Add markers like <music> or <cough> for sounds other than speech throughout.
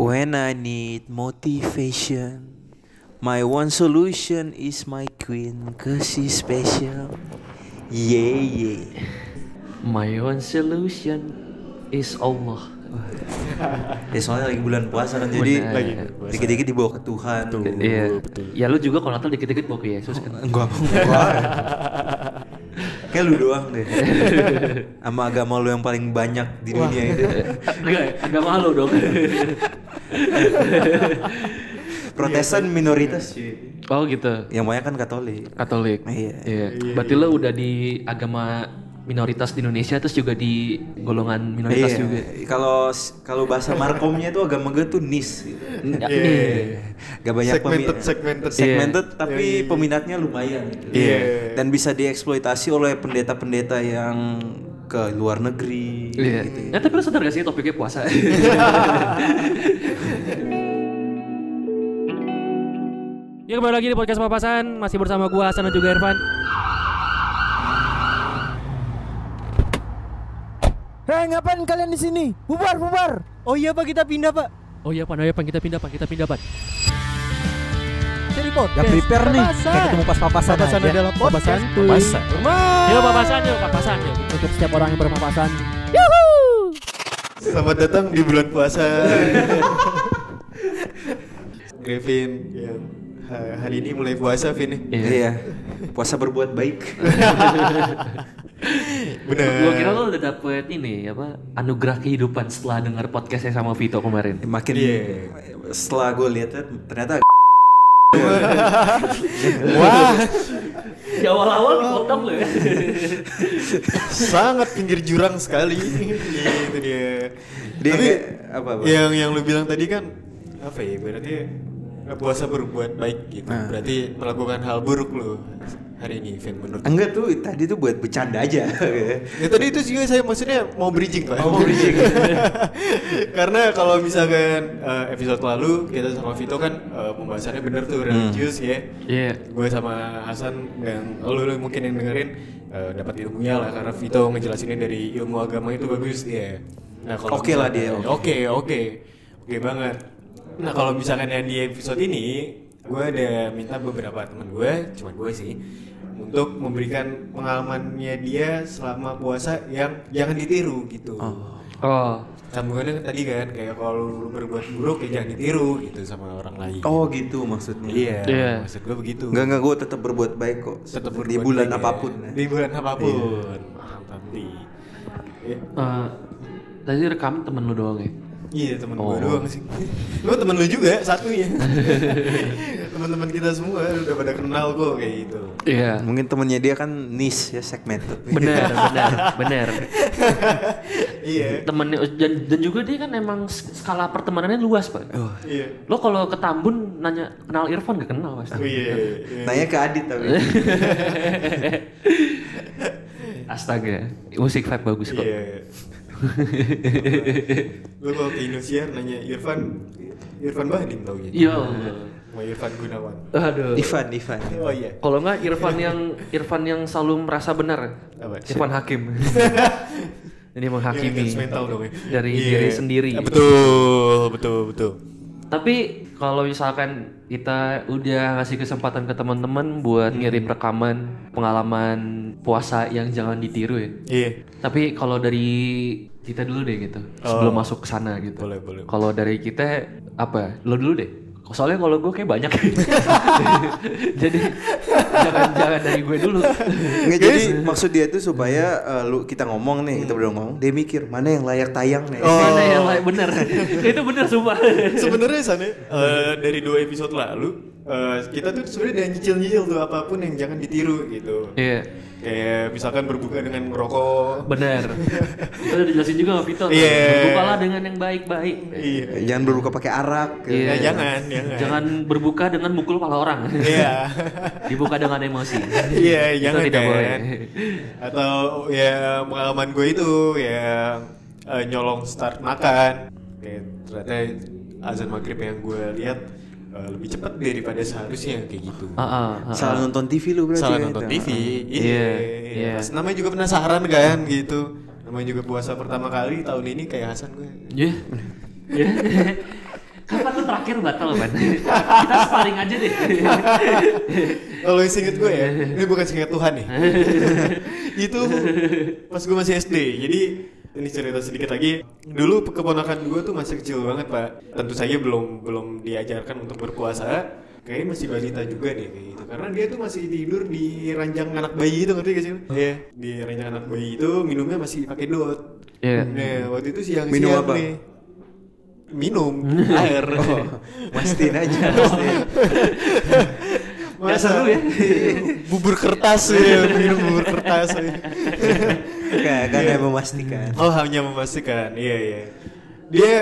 When I need motivation, my one solution is my queen, cause she's special. Yeah, yeah. My one solution is Allah. Ya soalnya lagi bulan puasa kan jadi Benar. lagi dikit-dikit dibawa ke Tuhan. Tuh. Iya. Ya lu juga kalau Natal dikit-dikit bawa ke Yesus <laughs> kan. Enggak, enggak. Kayak lu doang deh. Sama agama lu yang paling banyak di dunia ini. Enggak, agak malu dong. Iya. Protestan minoritas. oh gitu. Yang banyak kan Katolik. Katolik. Iya. Berarti lo udah di agama minoritas di Indonesia terus juga di golongan minoritas Iya. juga. Kalau kalau bahasa markomnya tuh agama gue tuh nis gitu. Iya. <laughs> Gak banyak Segmented, pemi- segmented. Iya. segmented tapi peminatnya lumayan. gitu. Dan bisa dieksploitasi oleh pendeta-pendeta yang ke luar negeri. gitu ya. Iya. Nah, tapi lo sadar gak sih topiknya <laughs> puasa? Ya kembali lagi di podcast papasan masih bersama gua Hasan dan juga Irfan. Hei, ngapain kalian di sini? Bubar, bubar. Oh iya, Pak, kita pindah, Pak. Oh iya pan, oh iya pan kita pindah pan, kita pindah pan. Jadi podcast. Ya prepare nih. Papasan. Kayak ketemu pas papasan Papasan aja. adalah podcast. Papasan tuh. Papasan. Bermain. Yuk papasan, yuk papasan, yuk. Untuk setiap orang yang berpapasan. Selamat datang di bulan puasa. Griffin yang ya. ha- hari ini mulai puasa, Vin. nih. Iya. Iya. Puasa berbuat <laughs> baik. Bener. Gua kira lo udah dapet ini apa anugerah kehidupan setelah denger podcastnya sama Vito kemarin. Makin Iya. setelah gue lihat ternyata Wah, Di awal-awal dipotong lo ya. sangat pinggir jurang <laughs> sekali. Iya, itu dia. Dia Tapi iya. kayak- apa, Bang? Yang yang lu bilang tadi kan apa ya? Berarti puasa berbuat baik gitu. Nah. Berarti melakukan hal buruk lu hari ini, Vin menurut. enggak tuh tadi tuh buat bercanda aja. <laughs> Ya tadi itu juga saya maksudnya mau bridging pak. Oh, mau bridging. <laughs> Karena kalau misalkan eh, episode lalu kita sama Vito kan eh, pembahasannya bener tuh religius ya. Iya. Gue sama Hasan dan lu, lu mungkin yang dengerin eh, dapat ilmunya lah karena Vito ngejelasinnya dari ilmu agama itu bagus ya. Nah Oke lah misalkan- dia, Oke oke oke banget. Nah kalau misalkan yang di episode ini gue ada minta beberapa teman gue, cuman gue sih untuk memberikan pengalamannya dia selama puasa yang jangan ditiru gitu. <laughs> Oh. Sambungannya tadi kan kayak kalau lu berbuat buruk ya jangan ditiru gitu sama orang lain. Oh gitu maksudnya. Iya, Iya. maksud gue begitu. Enggak enggak gue tetap berbuat baik kok. Tetap di berbuat bulan baik ya. apapun. Di bulan apapun. Mantap di. Iya, Eh, tadi rekam temen lu doang ya? Iya temen Oh. gue doang sih. Lu temen lu juga <laughs> satunya. Teman-teman kita semua udah pada kenal kok kayak gitu. Iya. Mungkin temennya dia kan niche ya segmented. <laughs> Bener, bener, bener. Iya. Temennya dan, dan juga dia kan emang s- skala pertemanannya luas pak. Iya. Lo kalau ke Tambun nanya kenal Irfan gak kenal Oh, pasti. Iya. iya. Nanya ke Adit tapi. Astaga, musik vibe bagus kok. Iya. Lu kalau ke Indosiar nanya Irfan Irfan Bahdim tau gitu. Yo. Mau Irfan Gunawan. Aduh. Ivan, Ivan. ya. Oh iya. Kalau nggak Irfan yang Irfan yang selalu merasa benar. Apa? Irfan <laughs> Hakim. Ini menghakimi Iya, mental dong ya. dari Iya. diri sendiri. Ah, Betul, betul, betul. Tapi kalau misalkan kita udah ngasih kesempatan ke teman-teman buat Hmm. ngirim rekaman pengalaman puasa yang jangan ditiru ya. Iya. Tapi kalau dari kita dulu deh gitu, sebelum masuk ke sana gitu. Oh. Boleh, boleh. Kalau dari kita apa? Lo dulu deh. Soalnya kalau gue kayak <laughs> banyak. <laughs> Jadi jangan jangan dari gue dulu. Nggak, jadi maksud dia tuh supaya eh, lu kita ngomong nih, kita berdua ngomong, dia mikir mana yang layak tayang nih. Oh. Mana yang lain ya, <laughs> bener? Itu bener sumpah. Sebenarnya sana Eh, dari dua episode lalu eh, kita tuh sebenarnya udah nyicil-nyicil tuh apapun yang jangan ditiru gitu. Iya, Kayak misalkan berbuka dengan merokok. bener. Itu udah dijelasin juga sama Vito. Iya. Berbukalah dengan yang baik-baik. Iya. Jangan berbuka pakai arak. gitu Iya. kan. Ya, jangan, jangan. Jangan berbuka dengan mukul kepala orang. Iya. <laughs> Dibuka dengan emosi. Iya, Itu jangan tidak kan. boleh. Atau ya pengalaman gue itu ya eh, nyolong start makan. Kayak ternyata azan maghrib yang gue lihat eh, lebih cepat daripada seharusnya kayak gitu. Ah, ah, ah, ah. Salah nonton TV lu berarti. Salah kan gitu. nonton itu. TV. Iya, Iya. iya. Pas namanya juga penasaran kan gitu. <laughs> Iya. Namanya juga puasa pertama kali tahun ini kayak Hasan gue. Iya. Iya. akhir batal ban. Kita sparring aja <laughs> deh. Kalau singkat gue ya, ini bukan singkat Tuhan nih. itu pas gue masih SD. Jadi ini cerita sedikit lagi. Dulu keponakan gue tuh masih kecil banget pak. Tentu saja belum belum diajarkan untuk berpuasa. Kayaknya masih balita juga deh kayak gitu. Karena dia tuh masih tidur di ranjang anak bayi itu ngerti gak sih? Iya. Di ranjang anak bayi itu minumnya masih pakai dot. Iya. Nah waktu itu siang-siang Minum apa? nih. Minum air. Mastiin <laughs> aja. mastiin. Masa seru ya? <laughs> bubur kertas ya, minum bubur kertas. ya. Kayak kan Iya. memastikan. <laughs> Oh, hanya memastikan. Iya, iya. Dia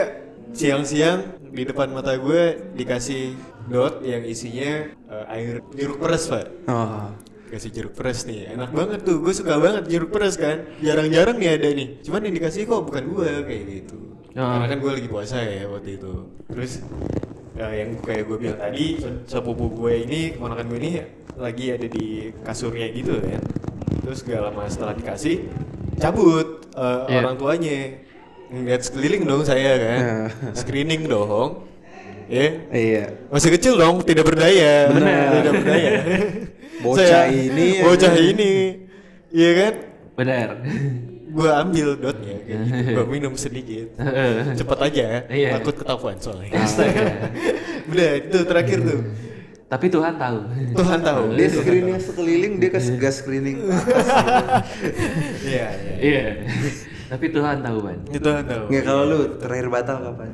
siang-siang di depan mata gue dikasih dot yang isinya eh, air jeruk peres, Pak. Oh. Kasih jeruk peres nih, enak banget tuh. Gue suka banget jeruk peres kan. Jarang-jarang nih ada nih. Cuman yang dikasih kok bukan gue kayak gitu. Ah. Karena kan gue lagi puasa ya waktu itu. Terus ya, yang kayak gue bilang tadi, se- sepupu gue ini, keponakan gue ini lagi ada di kasurnya gitu kan. Terus gak lama setelah dikasih, cabut eh, Iya. orang tuanya. Ngeliat sekeliling dong saya kan. Screening dong. Ya, Iya. masih kecil dong, tidak berdaya. Benar. Tidak <laughs> berdaya. Bocah ini ya. Bocah ini. Iya kan? Benar. Gua ambil dotnya kayak <laughs> gitu. Gua minum sedikit. Cepet aja. ya. Iya. Takut ketahuan <laughs> soalnya. <laughs> Udah, itu terakhir tuh. Tapi Tuhan tahu. Tuhan tahu. Dia screening sekeliling, dia kasih gas screening. Iya, iya. Iya. Tapi Tuhan tahu ban. Itu Tuhan tahu. Nggak kalau lu terakhir batal kapan?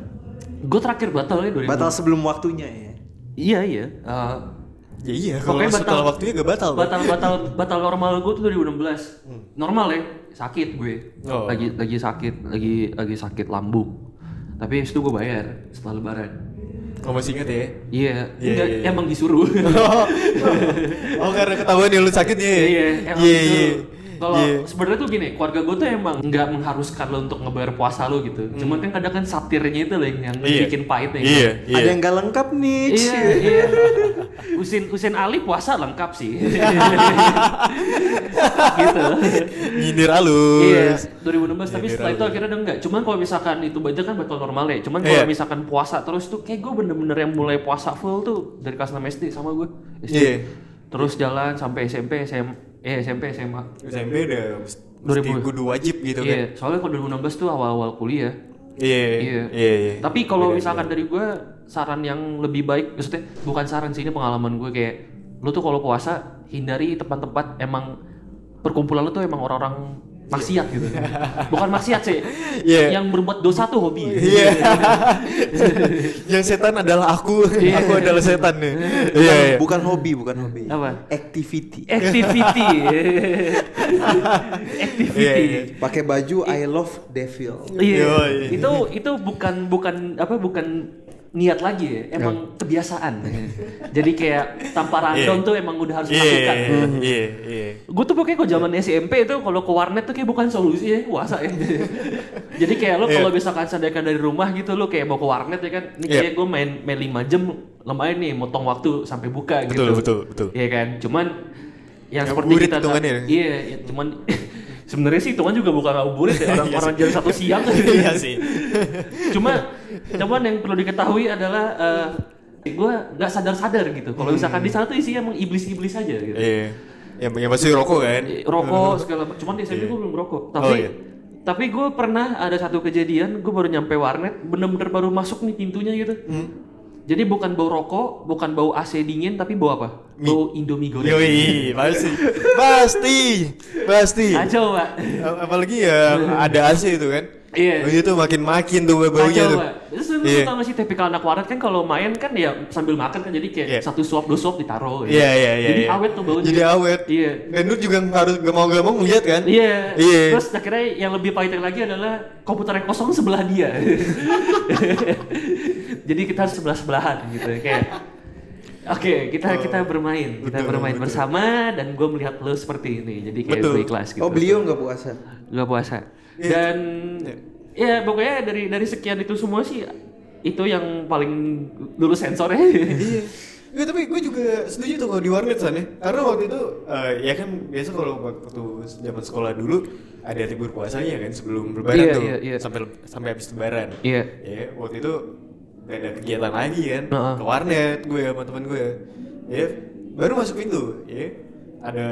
Gue terakhir batalnya 2000. Batal sebelum waktunya ya. Iya iya. Eh, Ya iya, kalau Pokoknya setelah batal- waktunya gak batal. Pak. Hmm. batal batal batal normal gue tuh 2016. Normal ya, sakit gue. Oh. Lagi lagi sakit, lagi lagi sakit lambung. Tapi habis itu gue bayar setelah lebaran. Oh, masih ingat ya? <laughs> Iya, Iya, enggak, iya, iya. emang <laughs> disuruh. oh, oh, karena ketahuan ya lu sakit ya? Iya, emang Iya, gitu. iya. Kalau Iya. sebenarnya tuh gini, keluarga gue tuh emang nggak mengharuskan lo untuk ngebayar puasa lo gitu. Cuman kan kadang kan satirnya itu loh yang, yang Hmm. Iya. bikin pahitnya. gitu. Iya, iya. Ada yang nggak lengkap nih. Iya, <laughs> iya. Usin Usin Ali puasa lengkap sih. Iya. gitu. nyindir alus. Iya, 2016 tapi Nyindir setelah itu alus. akhirnya udah enggak. Cuman kalau misalkan itu baca kan bakal normal ya. Cuman Iya. kalau misalkan puasa terus tuh kayak gue bener-bener yang mulai puasa full tuh dari kelas 6 SD sama gue. SD. Iya. Terus jalan sampai SMP, SM, eh SMP, SMA. SMP udah mesti 2000. kudu wajib gitu iya, kan. soalnya kalau 2016 tuh awal-awal kuliah. Iya. Iya. Iya. iya. Tapi kalau Beda, misalkan dari gue saran yang lebih baik, maksudnya bukan saran sih ini pengalaman gue kayak lu tuh kalau puasa hindari tempat-tempat emang perkumpulan lu tuh emang orang-orang maksiat <laughs> gitu. bukan maksiat sih. Iya. Yang berbuat dosa tuh hobi. Iya. <laughs> Yang setan adalah aku. Iya. aku adalah setan nih. Bukan, Iya. iya. Eh. bukan hobi, bukan hobi. Apa? Activity. <laughs> Activity. Activity. Iya, iya. Pakai baju I love devil. Iya. Yoi. Itu itu bukan bukan apa bukan niat lagi ya, Iya. emang kebiasaan. Jadi kayak tanpa random tuh emang udah harus Iya. dilakukan. Iya. Iya. <laughs> Gue tuh pokoknya kok zaman SMP itu kalau ke warnet tuh kayak bukan solusi ya, puasa <laughs> ya. Jadi kayak lo kalau misalkan sadarkan dari rumah gitu lo kayak mau ke warnet ya kan, ini Iya. kayak gue main main 5 jam lumayan nih motong waktu sampai buka gitu. Betul, betul, betul. Iya kan? Cuman yang Yang seperti burit kita hitungannya ya? Iya, ya, cuman <laughs> sebenarnya sih hitungan juga bukan ngabuburit ya orang-orang jam satu siang. <laughs> Iya sih. Cuma cuman yang perlu diketahui adalah gue nggak sadar-sadar gitu. Kalau misalkan di sana tuh isinya emang iblis-iblis aja gitu. Iya. Yang yang pasti rokok kan. Eh, rokok segala macam. Cuman di SMP gue belum rokok. Tapi iya. tapi gue pernah ada satu kejadian, gue baru nyampe warnet, bener-bener baru masuk nih pintunya gitu. Hmm. Jadi bukan bau rokok, bukan bau AC dingin, tapi bau apa? Bau Indomie goreng. <laughs> Yoi, pasti. pasti. Pasti. Kacau, Pak. A- Apalagi ya ada AC itu kan. Iya. Itu makin-makin tuh baunya Kacau, tuh. Pak. Terus lu Iya. tau gak sih tipikal anak warnet kan kalau main kan ya sambil makan kan jadi kayak Iya. satu suap dua suap ditaruh. gitu. Iya iya iya. Jadi iya. awet tuh baunya. Jadi awet. Iya. Dan lu juga harus gak mau gak mau ngeliat kan? Iya. Iya. Terus akhirnya yang lebih pahit lagi adalah komputer yang kosong sebelah dia. <laughs> Jadi kita harus sebelah sebelahan gitu ya, kayak. Oke, kita kita bermain, kita Oh. Betul, bermain betul. bersama dan gue melihat lo seperti ini, jadi kayak Betul. Iya. ikhlas gitu. Oh beliau nggak puasa. Gak puasa. Dan ya pokoknya dari dari sekian itu semua sih itu yang paling ya. dulu <laughs> sensornya. Iya. Nggak, tapi gue juga setuju tuh kalau di warnet sana. Karena waktu itu eh, ya kan biasa kalau waktu zaman sekolah dulu ada libur puasanya kan sebelum lebaran Iya, tuh iya, iya. sampai sampai habis lebaran. Iya. Ya, waktu itu gak ada kegiatan lagi kan Heeh. ke warnet gue sama temen gue ya baru masuk pintu ya ada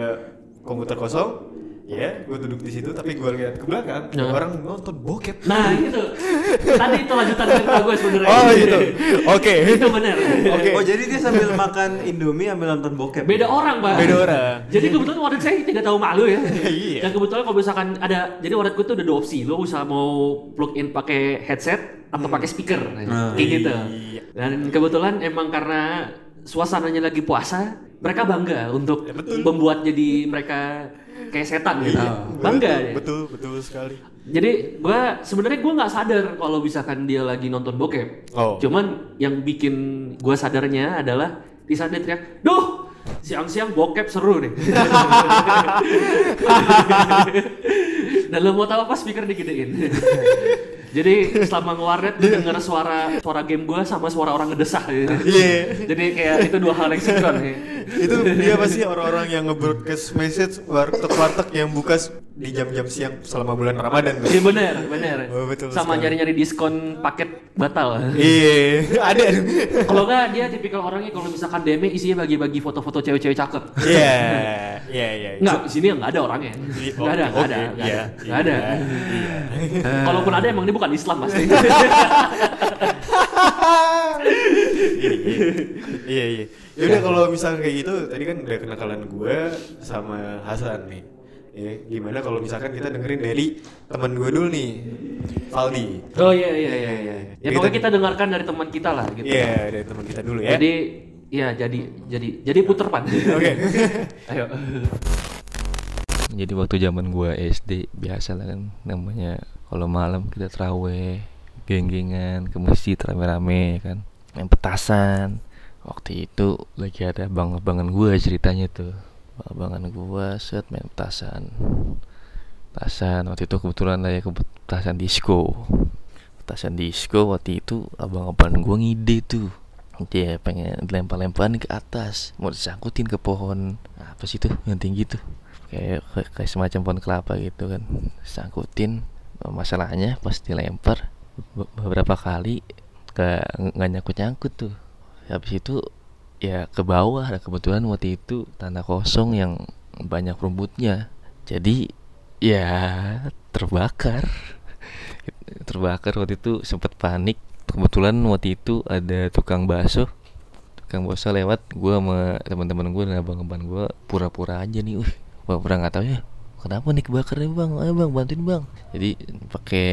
komputer kosong ya gue duduk di situ tapi gue lihat ke belakang Heeh. orang nonton bokep Nah itu Tadi itu lanjutan cerita gue sebenernya oh gitu oke <laughs> Itu bener oke Oh jadi dia sambil makan Indomie sambil nonton bokep. ya? Beda orang pak beda orang <laughs> Jadi kebetulan wadah saya tidak tahu malu ya. <laughs> Dan Iya. kebetulan kalau misalkan ada, jadi wadah gue tuh ada dua opsi. Lo bisa mau plug in pakai headset atau pakai speaker, kayak gitu. Hmm. Iya. Dan kebetulan emang karena suasananya lagi puasa, mereka bangga untuk Ya, membuat jadi mereka kayak setan gitu. Bangga. Iya, betul, dia. betul betul sekali Jadi gua sebenarnya gua nggak sadar kalau misalkan dia lagi nonton bokep. Oh. Cuman yang bikin gua sadarnya adalah di saat dia teriak, "Duh, siang-siang bokep seru nih." <laughs> Dan lo mau tahu apa speaker digedein. <laughs> Jadi selama ngewarnet gue denger suara suara game gua sama suara orang ngedesah. Gitu. <laughs> iya Jadi kayak itu dua hal yang sinkron. <laughs> Ya. itu dia pasti orang-orang yang nge-broadcast message warteg-warteg yang buka s- di jam-jam siang selama bulan Ramadan. Iya bener, bener. Oh, betul sama sekali. nyari-nyari diskon paket batal. Iya, ada. Kalau enggak dia tipikal orangnya kalau misalkan DM isinya bagi-bagi foto-foto cewek-cewek cakep. Iya, iya, iya. Enggak, di sini enggak ada orangnya. Enggak ada, enggak ada, enggak ada. iya. Enggak ada. Kalaupun ada emang dia bukan Islam <laughs> pasti. Iya, iya. Ya udah kalau misalnya kayak gitu, tadi kan udah kenakalan gue sama Hasan nih. Ya, gimana kalau misalkan kita dengerin dari teman gue dulu nih, Valdi. Oh iya iya iya iya. Ya Gitu. pokoknya kita dengarkan dari teman kita lah gitu. Iya, dari teman kita dulu ya. Jadi iya jadi jadi jadi puter pan. Oke. <laughs> Ayo. Jadi waktu zaman gua SD biasa lah kan namanya kalau malam kita teraweh, geng-gengan ke masjid rame-rame ya kan, main petasan. Waktu itu lagi ada bang-bangan gua ceritanya tuh. Bang-bangan gua set main petasan. Petasan waktu itu kebetulan lah ya ke petasan disco. Petasan disco waktu itu abang-abang gua ngide tuh. Dia pengen dilempar-lemparan ke atas, mau disangkutin ke pohon Nah, apa sih tuh yang tinggi tuh kayak kayak- kayak semacam pohon kelapa gitu kan sangkutin masalahnya pas dilempar be- beberapa kali ke nggak nyangkut nyangkut tuh habis itu ya ke bawah Nah, kebetulan waktu itu tanah kosong yang banyak rumputnya jadi ya terbakar <laughs> terbakar waktu itu sempat panik kebetulan waktu itu ada tukang bakso Kang Bosa lewat gua sama teman-teman gua dan abang-abang gua pura-pura aja nih uh pura-pura nggak tahu ya kenapa nih kebakar nih bang ayo bang bantuin bang jadi pakai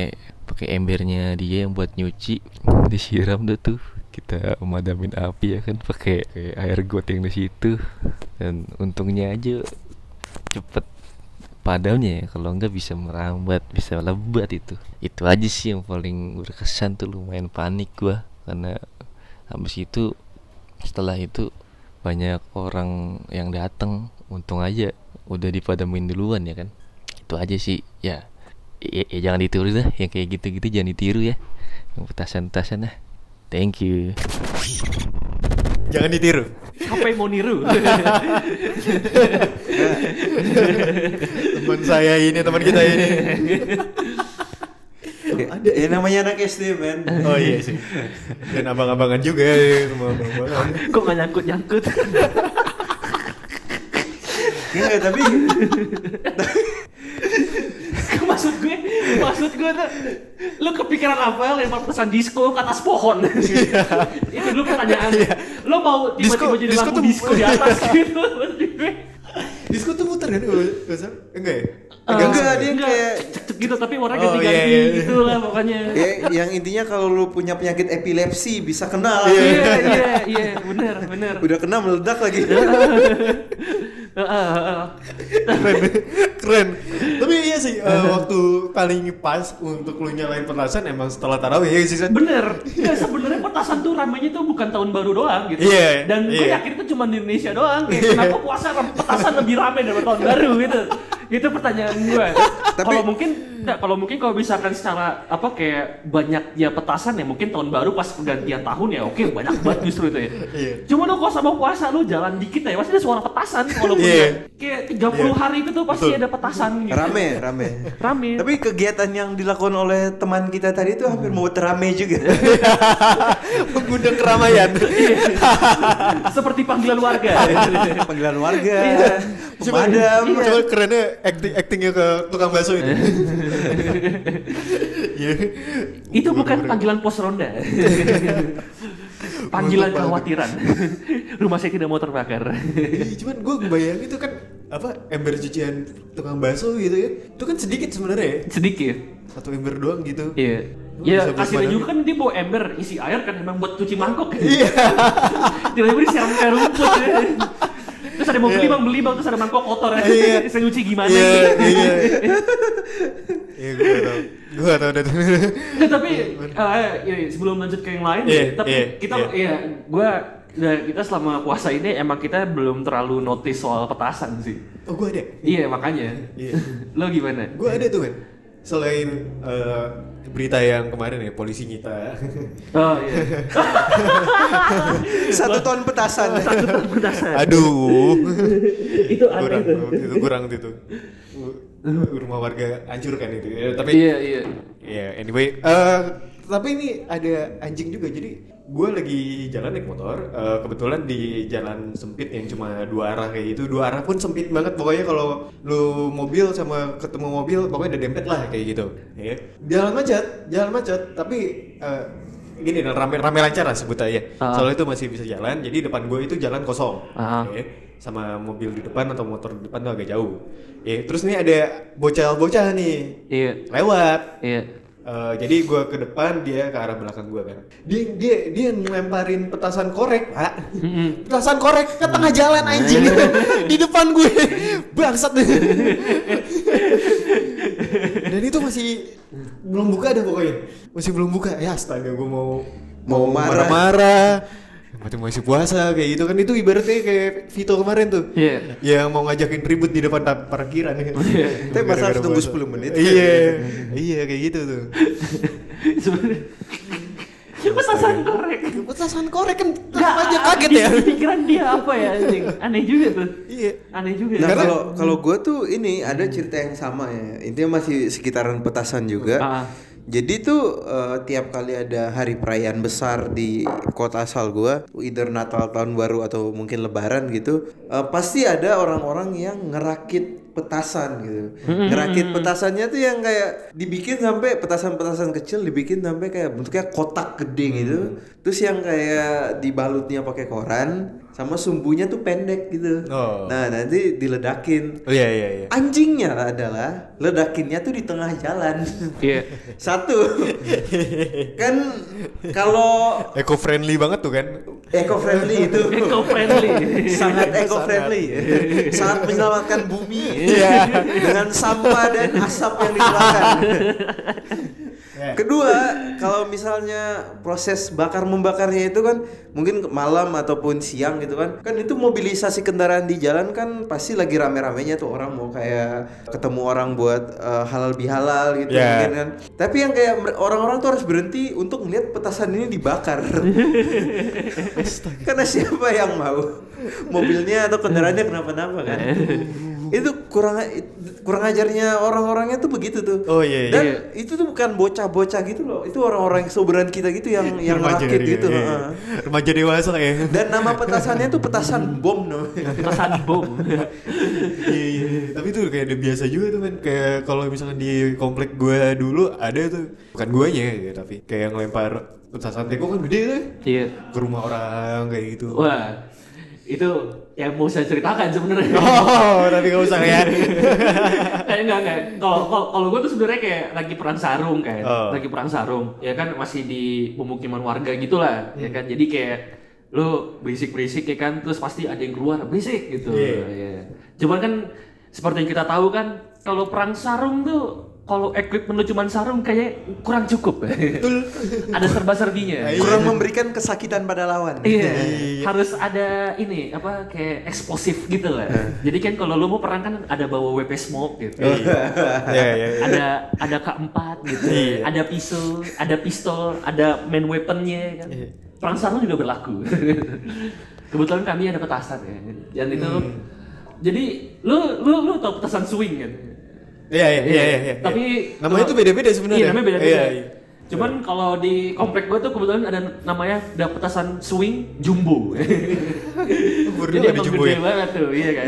pakai embernya dia yang buat nyuci <laughs> disiram dah tuh kita madamin api ya kan pakai pakai air got yang di situ dan untungnya aja cepet padamnya ya kalau enggak bisa merambat bisa lebat itu itu aja sih yang paling berkesan tuh lumayan panik gua karena habis itu setelah itu banyak orang yang datang untung aja udah dipadamin duluan ya kan itu aja sih ya ya, ya jangan ditiru dah yang kayak gitu-gitu jangan ditiru ya yang petasan-petasan lah thank you Jangan ditiru. Siapa yang mau niru? <laughs> Teman saya ini, teman kita ini. Ada ya namanya anak SD men. Oh iya sih. Dan abang-abangan juga ya, semua abang-abangan. Kok nggak nyangkut nyangkut? Enggak Ya tapi <laughs> maksud gue, maksud gue tuh, lu kepikiran apa lempar pesan disco ke atas pohon? <laughs> itu dulu pertanyaan. Lu mau tiba-tiba Iya. jadi Disco- disco lagu tuh- disco di <laughs> atas gitu? Maksud gue. Disko tuh muter kan kalau nggak salah? Enggak ya? Enggak, enggak, dia Eh. enggak, kayak- cek-cek gitu tapi warnanya Oh, ganti-ganti iya, iya. gitu lah pokoknya. ya, yang intinya kalau lu punya penyakit epilepsi bisa kena Iya, lagi. iya, iya, bener, bener. Udah kena meledak lagi. Eh, eh, eh. Keren. Keren. Tapi iya sih eh, waktu paling pas untuk lu nyalain petasan emang setelah tarawih ya sih. San? Bener, ya sebenarnya petasan tuh ramainya tuh bukan tahun baru doang gitu. Iya, Dan gue iya. yakin itu cuma di Indonesia <laughs> doang. Kayak, Kenapa puasa ram- petasan lebih ramai daripada tahun baru gitu? Itu pertanyaan gue. Tapi- Kalau mungkin Nggak, kalau mungkin kalau misalkan secara apa kayak banyak ya petasan ya mungkin tahun baru pas pergantian tahun ya oke banyak banget justru itu ya. Iya. Cuma lo kalau sama puasa lo jalan dikit ya pasti ada suara petasan kalau Iya. kayak 30 hari itu tuh pasti ada petasan gitu. Rame, rame. Rame. Tapi kegiatan yang dilakukan oleh teman kita tadi itu hampir Hmm. mau terame <laughs> juga. Mengundang keramaian. <laughs> <laughs> Iya. seperti panggilan warga. Iya. Panggilan warga, Iya. pemadam. Cuma kerennya acting actingnya ke tukang bakso itu. Eh. <laughs> Iya. itu bukan panggilan pos <laughs> ronda. panggilan kekhawatiran. <laughs> Rumah saya tidak mau <laughs> terbakar. Iya, cuman gue bayangin itu kan apa ember cucian tukang bakso gitu ya itu kan sedikit sebenarnya ya. Sedikit. satu ember doang gitu Iya. Lu Ya, bisa kasih berpadang. juga kan dia bawa ember isi air kan emang buat cuci <laughs> mangkok. Iya. <laughs> Tiba-tiba disiram kayak rumput. ya. Terus ada mau beli bang, beli bang, terus ada mangkok kotor. ya. Iya. <laughs> Saya nyuci gimana? gitu. iya <laughs> iya iya gue gak tau gue gak tau deh Nggak, tapi eh, ini, sebelum lanjut ke yang lain, Iya, tapi iya, kita iya. ya gua nah, kita selama puasa ini emang kita belum terlalu notice soal petasan sih. <laughs> oh gue ada Iya makanya. Iya. Lo gimana? gue ada tuh kan selain eh, berita yang kemarin ya polisi <laughs> nyita Oh iya. iya. Satu ton petasan. aduh itu aneh kurang tuh. itu kurang itu <laughs> rumah warga hancur kan itu Ya, tapi Iya iya. Ya, anyway, eh, tapi ini ada anjing juga. Jadi gue lagi jalan naik motor, eh, kebetulan di jalan sempit yang cuma dua arah kayak gitu. Dua arah pun sempit banget. Pokoknya kalau lu mobil sama ketemu mobil, pokoknya udah dempet lah kayak gitu. Ya. Jalan macet, jalan macet. Tapi eh, gini, dan rame-rame lancar lah sebut aja. Ah. Soalnya itu masih bisa jalan. Jadi depan gue itu jalan kosong. Ah. Ya. Sama mobil di depan atau motor di depan tuh agak jauh. Ya, terus nih ada bocah-bocah nih Iya. lewat Iya. Eh, jadi gue ke depan dia ke arah belakang gue kan. Dia dia dia ngelemparin petasan korek pak. Petasan korek ke tengah jalan anjing di depan gue bangsat. Dan itu masih belum buka ada pokoknya. Masih belum buka ya astaga gue mau Mau marah. marah-marah. Mati masih puasa kayak gitu kan itu ibaratnya kayak Vito kemarin tuh. Iya. Yang mau ngajakin ribut di depan ta- parkiran. Tapi masa harus Gara-gara tunggu puasa. 10 menit? Iya. Iya kayak gitu tuh. Sebenarnya. Petasan korek. Petasan korek kan Nggak, tetap aja kaget ya. di Pikiran dia apa ya anjing? Aneh juga tuh. Iya. Aneh juga. Nah Karena- kalau kalau gue tuh ini ada cerita yang sama ya. Intinya masih sekitaran petasan juga. Ah. Jadi tuh eh, tiap kali ada hari perayaan besar di kota asal gue, either Natal tahun baru atau mungkin Lebaran gitu, eh, pasti ada orang-orang yang ngerakit petasan gitu. Ngerakit petasannya tuh yang kayak dibikin sampai petasan-petasan kecil dibikin sampai kayak bentuknya kotak gede gitu. Terus yang kayak dibalutnya pakai koran sama sumbunya tuh pendek gitu. Oh. Nah nanti diledakin. Oh iya iya iya. Anjingnya adalah ledakinnya tuh di tengah jalan. <laughs> Iya. Satu. kan kalau Eco friendly banget tuh kan. eco friendly itu Eco friendly. sangat eco friendly sangat menyelamatkan bumi dengan sampah dan asap yang dikeluarkan kedua kalau misalnya proses bakar membakarnya itu kan mungkin malam ataupun siang gitu kan kan itu mobilisasi kendaraan di jalan kan pasti lagi rame-ramenya tuh orang mau kayak ketemu orang buat eh, halal bihalal gitu Ya. mungkin kan tapi yang kayak mer- orang-orang tuh harus berhenti untuk melihat petasan ini dibakar karena siapa yang mau mobilnya atau kendaraannya kenapa-napa kan? itu kurang kurang ajarnya orang-orangnya tuh begitu tuh. Oh, iya, iya. Dan itu tuh bukan bocah-bocah gitu loh. Itu orang-orang yang seumuran kita gitu yang yang rakit iya, gitu. iya. heeh. Remaja dewasa ya. Dan nama petasannya tuh petasan bom namanya. Petasan bom. Iya iya. Tapi itu kayak udah biasa juga tuh kan. Kayak kalau misalkan di komplek gue dulu ada tuh. Bukan guanya ya tapi kayak ngelempar petasan teko kan gede tuh. Iya. Ke rumah orang kayak gitu. Wah. Itu yang mau saya ceritakan sebenarnya. Oh, tapi gak usah ya. Eh, enggak enggak. Kalau kalau- kalau gue tuh sebenarnya kayak lagi perang sarung kayak, Oh. lagi perang sarung. Ya kan masih di pemukiman warga gitulah, Hmm. ya kan. Jadi kayak lu berisik-berisik ya kan, terus pasti ada yang keluar berisik gitu. Iya. Iya. Cuman kan seperti yang kita tahu kan, kalau perang sarung tuh kalau equipment lu cuman sarung kayaknya kurang cukup. <laughs> ada Nah, serba-serbinya. iya. Kurang memberikan kesakitan pada lawan. Iya, harus ada ini apa kayak eksplosif gitu lah. Jadi kan kalau lu mau perang kan ada bawa WP smoke gitu. Iya, iya, iya. ada ada K4 gitu, Iya. ada pisau, ada pistol, ada main weaponnya kan. Iya. Perang sarung juga berlaku. <laughs> Kebetulan kami ada petasan ya. Dan itu Hmm. jadi lu lu lu tau petasan swing kan? Iya, iya, iya, iya, iya. Tapi namanya kalau- tuh beda-beda sebenarnya. Iya, namanya beda-beda. Iya, iya. Cuman kalau di komplek gue tuh kebetulan ada namanya ada petasan swing <laughs> jumbo. Umurnya Jadi ada emang jumbo gede ya? banget tuh, iya kan.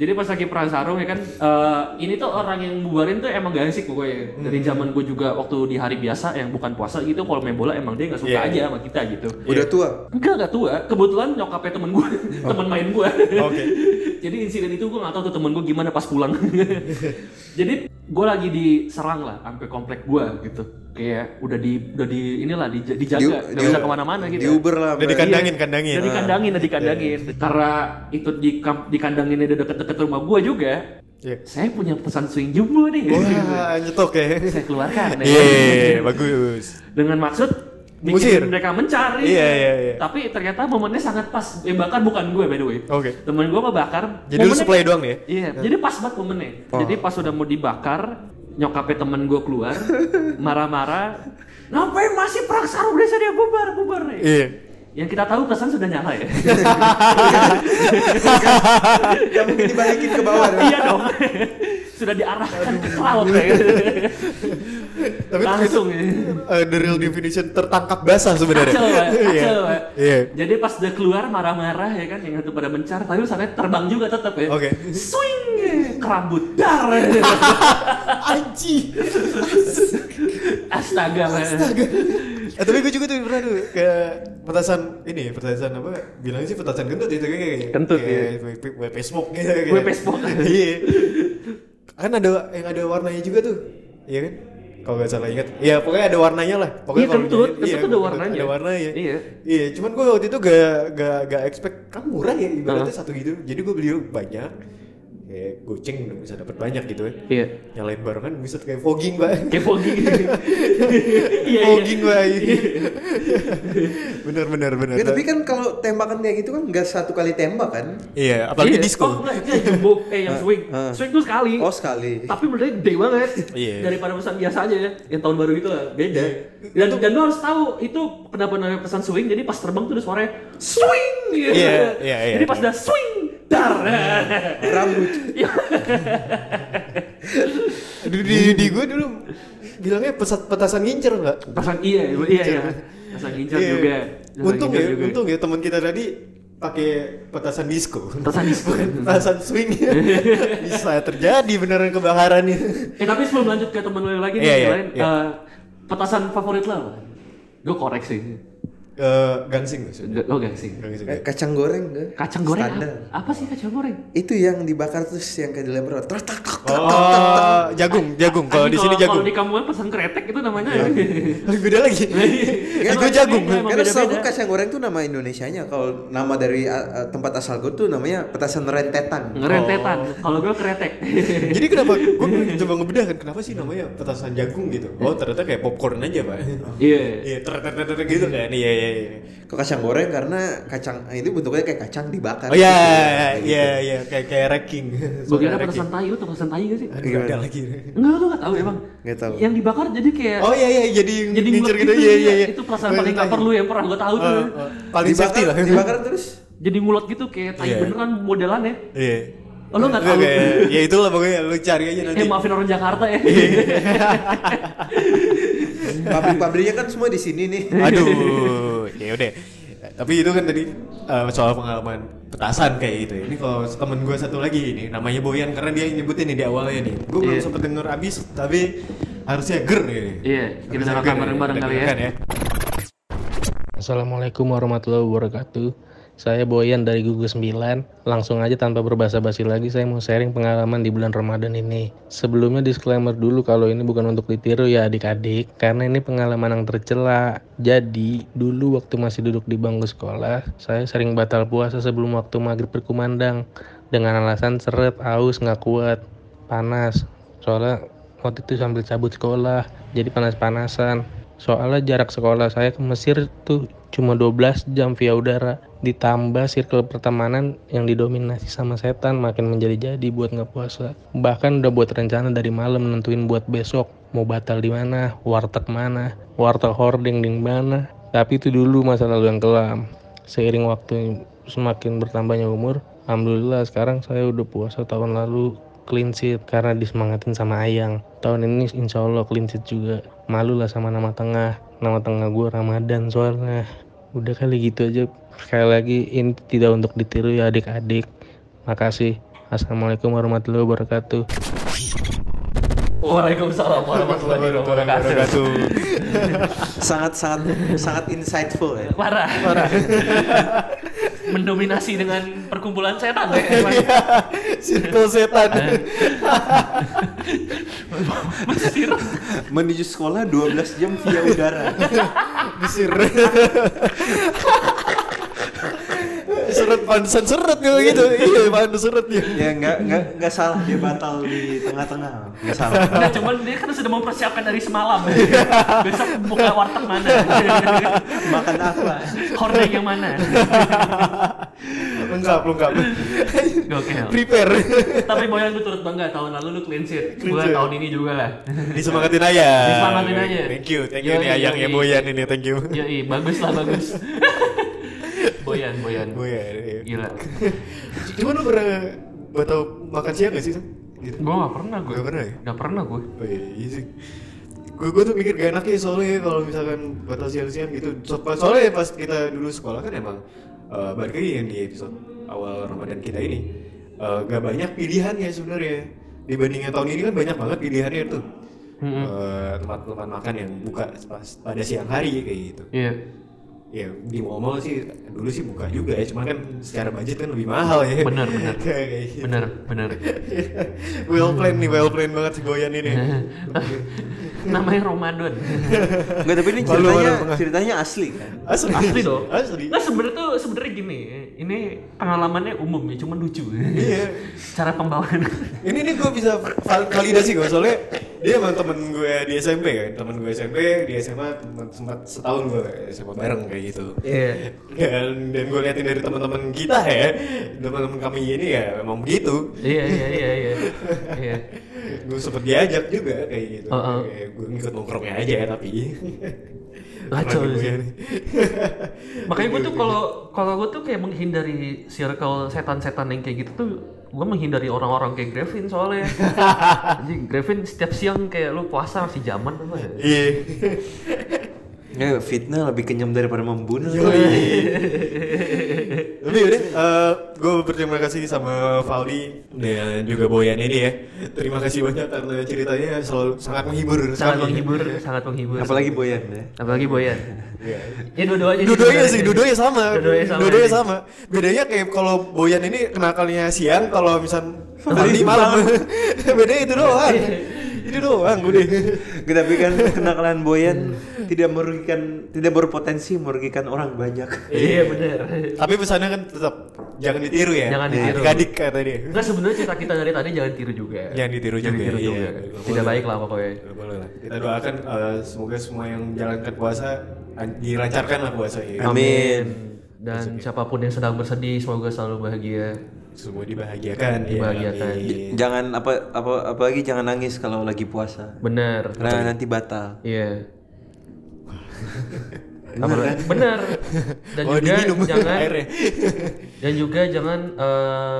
Jadi pas lagi perang sarung ya kan, eh, ini tuh orang yang bubarin tuh emang gak asik pokoknya. Dari Hmm. zaman gue juga waktu di hari biasa yang bukan puasa gitu, kalau main bola emang dia gak suka Iya. aja sama kita gitu. Udah tua. Enggak, gak tua. Kebetulan nyokapnya temen gue, Oh. temen main gue. Oke. <laughs> Jadi insiden itu gue gak tau tuh temen gue gimana pas pulang. <laughs> Jadi gue lagi diserang lah, sampai komplek gue gitu. Kayak udah di udah di inilah dij- dijaga, Di- gak di- bisa kemana-mana gitu. Iya. Di Uber lah. Udah Mbak. Iya. dikandangin, kandangin. Udah dikandangin, udah dikandangin. Karena itu di dikandanginnya udah deket-deket rumah gue juga. Iya. Saya punya pesan swing jumbo nih. Wah, nyetok ya. <laughs> saya keluarkan. ya. Iya, bagus. Dengan maksud bikin Musir. mereka mencari. Iya, iya, iya. Tapi ternyata momennya sangat pas. Eh, bakar bukan gue by the way. Oke. Temen gue ngebakar. Jadi lu momennya- supply doang nih ya? Oh. Iya, jadi pas banget momennya. Jadi pas udah mau dibakar, nyokapnya temen gue <laughs> keluar, marah-marah. Ngapain masih perang sarung desa dia bubar, bubar nih. Iya. Yang kita tahu pesan sudah nyala <laughs> ya. Gak mungkin dibalikin ke bawah. dong. iya dong. <laughs> sudah diarahkan ke laut ya. Tapi Langsung ya. Eh, the real definition tertangkap basah sebenarnya. Kacau, Pak. <laughs> Iya. kacau. Pak. Iya. Jadi pas dia keluar marah-marah ya kan yang itu pada mencar, tapi sana terbang juga tetap ya. Oke. Swing kerambut <laughs> dar. Anji. Astaga. Pak. Eh, tapi gue juga tuh pernah tuh ke petasan ini, ya, petasan apa? Bilangnya sih petasan kentut itu kayak kayak Kentut, iya. kayak WP, WP smoke gitu kayak. WP smoke. <laughs> Iya. Kan ada yang ada warnanya juga tuh. Iya kan? Kalau nggak salah ingat. Iya, pokoknya ada warnanya lah. Pokoknya Iya, kalau kentut. dijahit- Kentut ada warnanya. Ada warnanya. Iya. Iya, cuman gue waktu itu gak gak gak expect kan murah ya ibaratnya Heeh. satu gitu. Jadi gue beli banyak. Kayak goceng udah bisa dapat banyak gitu ya. Iya. Nyalain barengan bisa kayak fogging, Pak. Kayak <laughs> fogging. Iya, iya. Fogging lah ini. bener bener bener. Ya, tapi kan kalau tembakan kayak gitu kan nggak satu kali tembak kan? iya, apalagi Iya. disco. Oh, enggak, enggak, jumbo. Eh, yang swing. ah. Swing tuh sekali. Oh sekali. tapi benernya gede banget Iya. daripada pesan biasa aja ya yang tahun baru itu lah beda dan dan lo harus tahu itu kenapa namanya pesan swing jadi pas terbang tuh ada suaranya swing gitu. Iya, iya, iya. jadi pas udah swing dar Rambut. Iya. Di, di, di gue dulu bilangnya pesat petasan ngincer nggak? <laughs> pesan iya iya iya pesan gincer Iya. juga Pesan Untung gincer ya, juga. untung ya teman kita tadi pakai petasan disco. Petasan disco. Bukan <laughs> petasan <laughs> swing. Bisa terjadi beneran kebakaran ini. eh tapi sebelum lanjut ke teman lo yang lagi nih, Iya, yang iya, lain iya. eh, petasan favorit lo apa? gue korek sih Eh, gansing maksudnya. Nggak- lo gak sih Gansing. Eh, Kacang goreng nggak? kacang goreng Standar. apa, apa sih kacang goreng Itu yang dibakar terus yang kayak dilempar. Trak, trak, trak, trak, trak, trak, trak. Oh, jagung, jagung. Eh, Kalau Anjing, di sini kalau jagung. Iya. di kamu kan pesan kretek itu namanya Lebih beda lagi. Iya. Itu jagung. Emang Karena beda-beda. setahu gue kacang goreng tuh nama Indonesianya. Kalau nama dari uh, uh, tempat asal gue tuh namanya petasan rentetan. <laughs> Ngerentetan. Oh. Kalau gue <laughs> kretek. Jadi kenapa gue coba ngebedah kan kenapa sih namanya petasan jagung gitu? Oh ternyata kayak popcorn aja pak. Iya. Iya ter ter ter ter gitu kan? Iya iya iya. Kok kacang goreng karena kacang eh, itu bentuknya kayak kacang dibakar. Oh iya Gitu. iya iya kayak kayak racking. Gue kira Soalnya petasan racking. tai, lu tau petasan tai gak sih? ya. Aduh, Iya. ada lagi. Enggak, lu gak tau emang. Nggak tahu. Yang dibakar jadi kayak Oh iya iya jadi jadi ngincer ngulek gitu iya iya iya. Itu perasaan paling gak perlu yang pernah gue tahu tuh. Eh, eh, Paling dibakar, safety lah. dibakar <laughs> terus. Jadi ngulot gitu kayak tai Iya. beneran modelannya. Iya. Oh, lu nggak tahu? kayak- Ya itulah pokoknya lu cari aja nanti. Eh maafin orang Jakarta ya. Iya. Pabrik-pabriknya kan semua di sini nih. Aduh, <laughs> ya udah. Tapi itu kan tadi eh, soal pengalaman petasan kayak gitu. ya. Ini kalau temen gue satu lagi ini namanya Boyan karena dia yang nyebutin nih di awalnya nih. Gue belum Iya. sempet denger abis tapi harusnya ger nih. Iya, kita Harusnya dengarkan ger ya. bareng-bareng Kita kali ya. dengarkan Assalamualaikum warahmatullahi wabarakatuh. Saya Boyan dari Gugus 9. Langsung aja tanpa berbasa-basi lagi saya mau sharing pengalaman di bulan Ramadan ini. Sebelumnya disclaimer dulu kalau ini bukan untuk ditiru ya adik-adik karena ini pengalaman yang tercela. Jadi, dulu waktu masih duduk di bangku sekolah, saya sering batal puasa sebelum waktu maghrib berkumandang dengan alasan seret, haus, nggak kuat, panas. Soalnya Waktu itu sambil cabut sekolah, jadi panas-panasan. Soalnya jarak sekolah saya ke Mesir tuh cuma 12 jam via udara. Ditambah circle pertemanan yang didominasi sama setan makin menjadi-jadi buat nggak puasa. Bahkan udah buat rencana dari malam nentuin buat besok. Mau batal di mana, warteg mana, warteg hording di mana. Tapi itu dulu masa lalu yang kelam. Seiring waktu semakin bertambahnya umur, Alhamdulillah sekarang saya udah puasa tahun lalu clean sheet karena disemangatin sama Ayang. Tahun ini insya Allah clean sheet juga. Malu lah sama nama tengah. Nama tengah gue Ramadan soalnya. Udah kali gitu aja. Sekali lagi ini tidak untuk ditiru ya adik-adik. Makasih. Assalamualaikum warahmatullahi wabarakatuh. <laughs> Waalaikumsalam warahmatullahi Oh, wabarakatuh. sangat sangat sangat insightful ya. Parah. <laughs> Mendominasi dengan perkumpulan setan. ya, emang. Iya. Circle setan. Eh. Mesir. Menuju sekolah 12 jam via udara. Mesir. seret pantesan seret kalau gitu. Iya, pantesan seret ya. ya nggak nggak nggak salah dia batal di tengah-tengah. Nggak salah. <laughs> Nah, cuman dia kan sudah mempersiapkan dari semalam. Iya. Besok buka warteg mana? Makan apa? Hordeng yang mana? Lengkap, lengkap. Gokil. Prepare. Tapi Boyan lu turut bangga tahun lalu lu clean sheet. Clean Gua sheet. tahun ini juga lah. Disemangatin aja. Disemangatin aja. Thank you, thank you Yoi, nih ayang yoi. ya Iya. Boyan ini, thank you. Yoi, bagus lah <laughs> bagus. Boyan, Boyan. Boyan. iya. Gila. Cuman lu pernah batal makan siang gak sih? Sam? Gitu. Gua gak pernah gue. Nggak pernah ya? Gak pernah gue. Oh iya, iya sih. Gue gue tuh mikir gak enak ya soalnya kalau misalkan batal siang-siang gitu. So, pas- soalnya pas kita dulu sekolah kan emang eh, balik lagi yang di episode awal Ramadan kita ini eh, gak banyak pilihan ya sebenarnya dibandingnya tahun ini kan banyak banget pilihannya tuh Eh, tempat-tempat makan yang buka pas pada siang hari kayak gitu. Iya. Ya di mall sih dulu sih buka juga ya, cuman kan secara budget kan lebih mahal ya. Benar, benar. <laughs> Kayak gitu. Bener, bener. <laughs> well planned nih, well planned banget si Boyan ini. Namanya Ramadan. Nggak tapi ini Malu, malu, ceritanya tengah. ceritanya asli kan. Asli, <laughs> Asli dong. Asli. Nah sebenarnya tuh sebenarnya gini, ini pengalamannya umum ya, cuman lucu. Iya. Cara pembawaan. Ini nih gue bisa val- validasi gue soalnya dia emang temen gue di SMP kan, temen gue SMP, di SMA temen, sempat setahun gue SMA bareng kayak gitu. Iya. Dan, dan gue liatin dari teman-teman kita ya, teman-teman kami ini ya emang begitu. Iya, iya, iya, iya. Iya. gue sempet diajak juga kayak gitu. Heeh. Kayak gue ngikut nongkrongnya aja ya tapi. Kacau Keren gue sih. ini. Makanya gue tuh kalau kalau gue tuh kayak menghindari circle setan-setan yang kayak gitu tuh gue menghindari orang-orang kayak Grevin soalnya. Anjing Grevin setiap siang kayak lu puasa masih zaman apa ya? Iya. Ya, fitnah lebih kenyam daripada membunuh. Tapi udah, gue berterima kasih sama Valdi dan juga Boyan ini ya. Terima kasih banyak karena ceritanya selalu sangat menghibur. Sangat sekali. menghibur, sangat menghibur. Apalagi Boyan ya. apalagi Boyan. Iya. Ya dua-duanya Dudonya sebenarnya. sih, dudonya sama. Dudonya sama. Dudonya sama. Bedanya kayak kalau Boyan ini kenakalnya siang, kalau misal tadi malam. <laughs> Bedanya itu doang. itu doang gue Nggak, tapi kan kenakalan Boyan tidak merugikan tidak berpotensi merugikan orang banyak. Iya benar. Tapi pesannya kan tetap jangan ditiru ya. Jangan ditiru. Adik-adik kata dia. Enggak sebenarnya cerita kita dari tadi jangan tiru juga. Jangan ditiru Jangan juga, tiru iya. juga. Tidak baik lah pokoknya. Ya, Boleh lah. Gitu. Kita doakan eh, semoga semua yang menjalankan puasa an- dilancarkan lah ya. puasanya. Amin. Dan ya. siapapun yang sedang bersedih semoga selalu bahagia. Semua dibahagiakan. ya, Dibahagiakan. amin. Jangan apa apa apalagi jangan nangis kalau lagi puasa. Benar. Nah. Karena nanti batal. Iya. Apa- kan? Benar. Dan Oh, juga diminum jangan <laughs> airnya. dan juga jangan eh,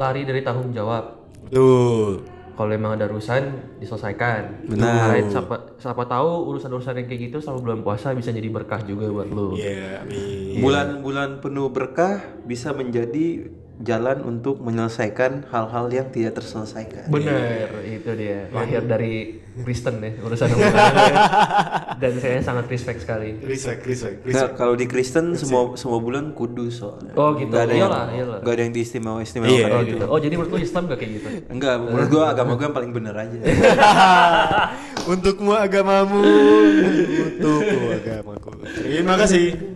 lari dari tanggung jawab. Tuh. Kalau memang ada urusan diselesaikan. Benar. Kalian siapa siapa tahu urusan-urusan yang kayak gitu selama bulan puasa bisa jadi berkah juga buat lu. Iya, amin. Bulan-bulan penuh berkah bisa menjadi jalan untuk menyelesaikan hal-hal yang tidak terselesaikan. Bener, itu dia. Lahir dari Kristen ya, urusan hubungan. Dan saya sangat respect sekali. Respect, respect, Nah, respect. kalau di Kristen semua semua bulan kudus soalnya. Oh, gitu. Nggak ada yang, Iyalah, iyalah. nggak ada yang diistimewa-istimewakan Iya, Oh gitu. gitu. Oh jadi menurut lu Islam gak kayak gitu? Enggak, menurut gua agama gua yang paling bener aja. <laughs> Untukmu agamamu, untukku agamaku. Terima kasih.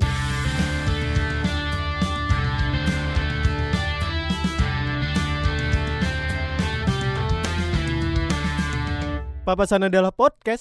Papasan adalah podcast